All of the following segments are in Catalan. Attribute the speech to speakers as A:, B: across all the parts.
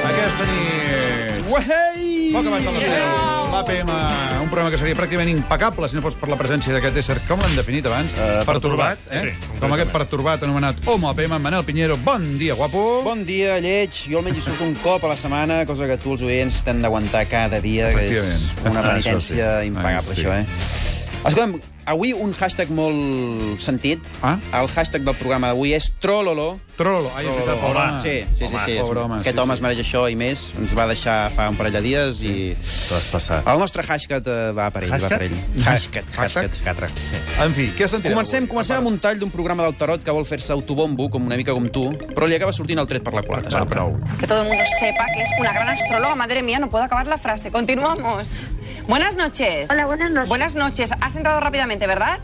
A: Aquesta nit...
B: Uahei!
A: Poc abans de les 10, l'APM, un programa que seria pràcticament impecable si no fos per la presència d'aquest ésser, com l'han definit abans,
B: Eh, pertorbat,
A: eh?
C: sí,
A: com
C: completament.
A: aquest pertorbat anomenat Homo APM, Manel Pinheiro. Bon dia, guapo!
B: Bon dia, lleig. Jo almenys hi surto un cop a la setmana, cosa que tu, els oients, t'han d'aguantar cada dia, que és
A: Efectivament.
B: una
A: Això
B: penitència
A: sí.
B: impagable,
A: Ai, sí.
B: això, eh? Escolta'm, avui un hashtag molt sentit.
A: Ah?
B: El hashtag del programa d'avui és Trololo.
A: Trololo. Ai, és veritat,
B: Trololo.
A: pobre
C: Home.
A: home.
B: Sí, sí, sí. sí.
A: pobre home,
B: Aquest
A: sí,
B: home
A: sí.
B: es mereix això i més. Ens va deixar fa un parell de dies i...
C: Traspassat.
A: Ah.
B: El nostre hashtag eh, va per ell,
C: Hashtag?
B: va per ell. Hashtag, hashtag.
C: Catra.
A: En fi, què sentirem
B: Comencem,
A: avui?
B: comencem amb un tall d'un programa del tarot que vol fer-se autobombo, com una mica com tu, però li acaba sortint el tret per la culata.
A: Va,
B: sempre.
A: prou.
D: Que todo el mundo sepa que es una gran astróloga. Madre mía, no puedo acabar la frase. Continuamos. Buenas noches.
E: Hola, buenas noches.
D: Buenas noches. Has entrado rápidamente, ¿verdad?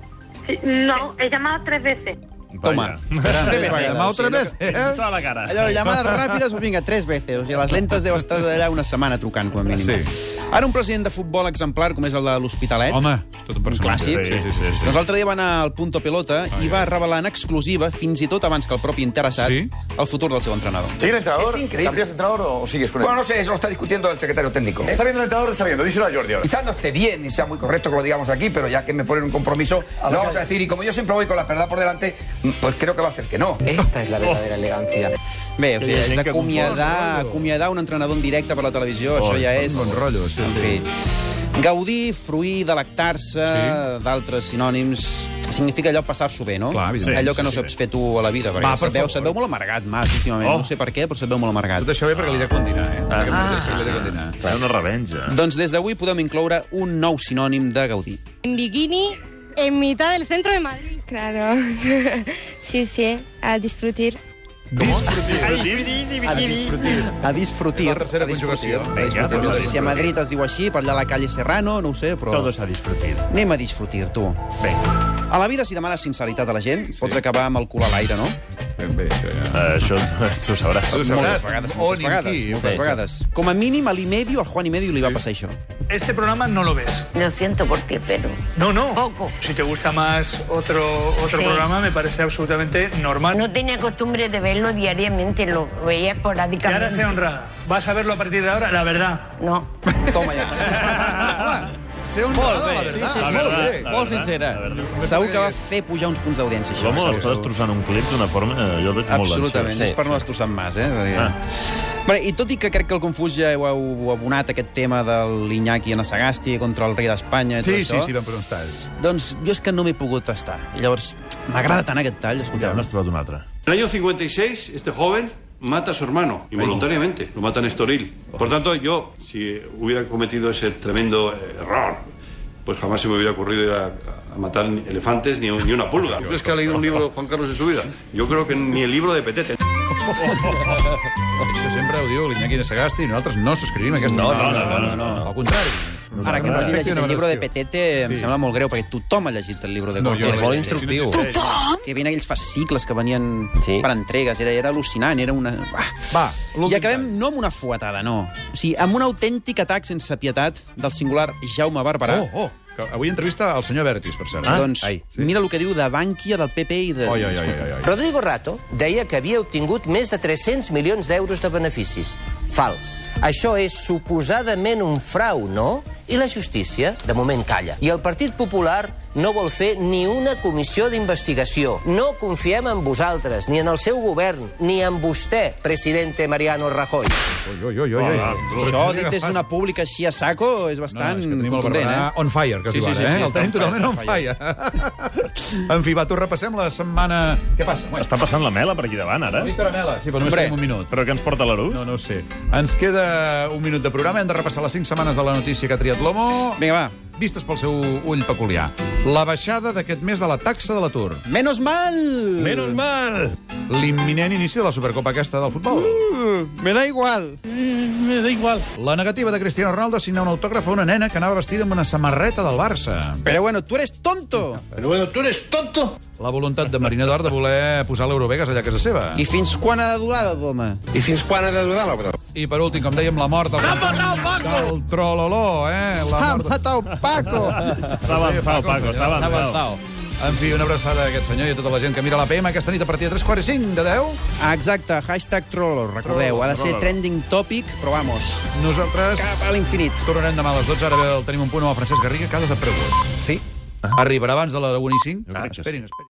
E: Sí, No, he llamado tres veces.
B: Toma.
A: Tres vegades. Demà
B: Sí,
A: otra
B: allò
A: vez, eh?
C: Tota la cara.
B: Allò, llamades ràpides, pues vinga, tres veces. O sigui, les lentes deu estar allà una setmana trucant, com a mínim.
A: Sí.
B: Ara un president de futbol exemplar, com és el de l'Hospitalet,
A: Home, tot un
B: un
A: personatge.
B: clàssic,
A: Sí, sí, sí.
B: doncs l'altre dia va anar al Punto Pelota i va revelar en exclusiva, fins i tot abans que el propi interessat,
A: Sí.
B: el futur del seu entrenador.
F: ¿Sigue el entrenador?
G: Es increíble.
F: ¿Cambias de entrenador o o sigues con él?
G: Bueno, no sé, eso lo está discutiendo el secretario técnico. Eh,
F: ¿Está viendo el entrenador o está viendo? Díselo a Jordi ahora.
G: Quizás no esté bien y sea muy correcto que lo digamos aquí, pero ya que me ponen un compromiso,
F: A
G: lo
F: la
G: vamos
F: calle.
G: a decir. Y como yo siempre voy con la verdad por delante, pues creo que va a ser que no.
H: Esta es la verdadera elegancia.
B: Bé, o sigui,
C: hi ha
B: és
C: gent que
B: acomiadar, acomiadar un entrenador en directe per la televisió, oh, això ja és...
A: bon rotllo, sí,
B: En fi. Gaudir, fruir,
A: Sí.
B: delectar-se, sí. d'altres sinònims... Significa allò passar-s'ho bé, no?
A: Clar, evidentment.
B: allò que no
A: Sí, sí,
B: saps fer tu a la vida, perquè
A: Va,
B: Va,
A: per
B: se't, veu,
A: favor.
B: se't veu molt amargat, Mas, últimament.
C: Oh.
B: Oh. No sé per què, però se't veu molt
A: Tot
B: amargat.
A: això bé perquè li de condinar, eh?
C: Ah,
A: Perquè
C: sí,
A: li
C: sí.
A: de condinar.
C: Clar, una revenja.
B: Doncs des d'avui podem incloure un nou sinònim de Gaudí.
I: en bikini en mitad del centro de Madrid.
J: Claro, sí, sí, a disfrutar.
B: A, dis a disfrutir.
A: És la tercera
B: a disfrutir.
A: conjugació.
B: A
A: Vinga,
B: disfrutir.
C: doncs
B: No
C: a
B: sé si a Madrid es diu així, per allà a la calle Serrano, no ho sé, però...
C: Todo se ha disfrutado.
B: Anem a disfrutir, tu.
C: Vinga.
A: Ah.
B: A la vida, si demanes sinceritat a la gent, sí. pots acabar amb el cul a l'aire, no?
A: Ben bé, això ja.
C: Eh, això tu ho sabràs.
A: Tu ho sabràs.
B: Moltes vegades, moltes
A: On i
B: vegades.
A: qui,
B: moltes
A: sí, sí.
B: vegades. Com a mínim, a l'Imedio, al Juan Imedio li va passar això.
H: Este programa no lo ves.
E: Lo siento por ti, pero...
H: No, no.
E: Poco.
H: Si te gusta más otro, otro
E: Sí.
H: programa, me parece absolutamente normal.
E: No tenía costumbre de verlo diariamente, lo
H: y ahora
E: veía
H: sea
E: esporádicamente.
H: honrada. Vas a verlo a partir de ahora, la verdad.
E: No.
B: Toma ja.
A: Ser un molt bé, sí, sí,
C: La
A: molt
C: verdad,
A: bé.
C: la verdad, la verdad.
B: Segur que va fer pujar uns punts d'audiència, això.
C: L'home
B: segur,
C: l'està
B: segur.
C: destrossant un clip d'una forma... eh, Jo el veig molt
B: Absolutament, és per no destrossar mas, eh? Perquè...
C: Ah.
B: Bé, I tot i que crec que el Confús ja ho heu abonat, aquest tema de l'Iñaki en Sagasti contra el rei d'Espanya i
A: Sí,
B: tot
A: sí,
B: això,
A: sí, vam preguntar. És-
B: doncs jo és que no m'he pogut estar. I llavors, m'agrada tant aquest tall,
C: Ja,
B: escolteu.
C: n'has trobat un altre.
K: En el año 56, este joven mata a su hermano, involuntariamente, lo mata en Estoril. Por tanto, yo, si hubiera cometido ese tremendo eh, error, pues jamás se me hubiera ocurrido ir a, a matar ni elefantes ni, un- ni una pulga. ¿Tú crees que ha leído un libro de Juan Carlos en su vida? Yo creo que ni el libro de Petete.
A: Això sempre ho diu l'Iñaki de Sagasti i nosaltres no subscrivim aquesta
C: No,
A: nota.
C: no, no, no,
A: Al contrari.
B: Ara que no hagi llegit
A: Una
B: el llibre de
A: valoració.
B: Petete em
A: Sí.
B: sembla molt greu, perquè tothom ha llegit el llibre de
A: No,
B: Cortés.
A: jo-
B: Molt
A: instructiu.
B: que havia aquells fascicles que venien sí. per entregues, era, era al·lucinant, era una... Ah.
A: Va, l'últim
B: I acabem
A: tall.
B: no amb una fuetada, no. O sigui, amb un autèntic atac sense pietat del singular Jaume Barberà.
A: Oh, oh. que Avui entrevista al senyor Bertis, per cert. Eh?
C: Ah.
B: Doncs
C: ai,
B: sí. mira el que diu de Bànquia, del PP i de...
A: Ai, ai, ai, ai, ai.
G: Rodrigo Rato deia que havia obtingut més de 300 milions d'euros de beneficis. Fals. Això és suposadament un frau, no? I la justícia, de moment, calla. I el Partit Popular no vol fer ni una comissió d'investigació. No confiem en vosaltres, ni en el seu govern, ni en vostè, presidente Mariano Rajoy.
A: Ui, ui, ui, ui, ui.
C: Ah,
B: Això, dit des d'una pública així a saco, és bastant
A: no, no, és que tenim el
B: contundent,
A: Barberà
B: eh?
A: on fire, que es
B: Sí,
A: diu ara,
B: sí, sí,
A: eh?
B: sí,
A: el
B: està
A: tenim
B: on fire,
A: totalment on fire. en fi, va, tu repassem la setmana... Què passa? Bueno,
C: Està passant la mela per aquí davant, ara.
A: Víctor Amela, sí, però només
B: Hombre.
A: tenim un minut.
C: Però què ens porta l'Arús?
A: No, no ho sé. Ens queda un minut de programa, hem de repassar les 5 setmanes de la notícia que ha triat l'Homo.
B: Vinga, va.
A: Vistes pel seu ull peculiar. La baixada d'aquest mes de la taxa de l'atur.
B: Menos mal!
C: Menos mal!
A: L'imminent inici de la Supercopa aquesta del futbol.
B: Me da igual.
A: La negativa de Cristiano Ronaldo a signar un autògraf a una nena que anava vestida amb una samarreta del Barça.
B: Pero bueno, tú eres tonto.
A: La voluntat de Marina d'Or de voler posar l'Eurovegas allà a casa seva.
B: I fins quan ha de durar, d'home?
F: ¿Y fins cuán ha de dudar la
A: I per últim, com dèiem, la mort del... S'ha matat Paco! Del Trololó, eh? La
B: Ha
A: mort...
B: matat Paco!
C: S'ha avançat, Paco, s'ha avançat.
A: del- eh? En fi, una abraçada a aquest senyor i a tota la gent que mira la PM aquesta nit a partir de 3 quarts i 5 de 10.
B: Exacte, hashtag trollor, recordeu. Ha de ser
A: Trollor.
B: trending topic, però vamos,
A: Nosaltres
B: cap a l'infinit.
A: tornarem demà a les 12. Ara ve el Tenim un punt amb el Francesc Garriga, que ha desaparegut. Sí. Arribarà abans de la 1 i 5?
C: crec que sí.
A: esperin, esperin.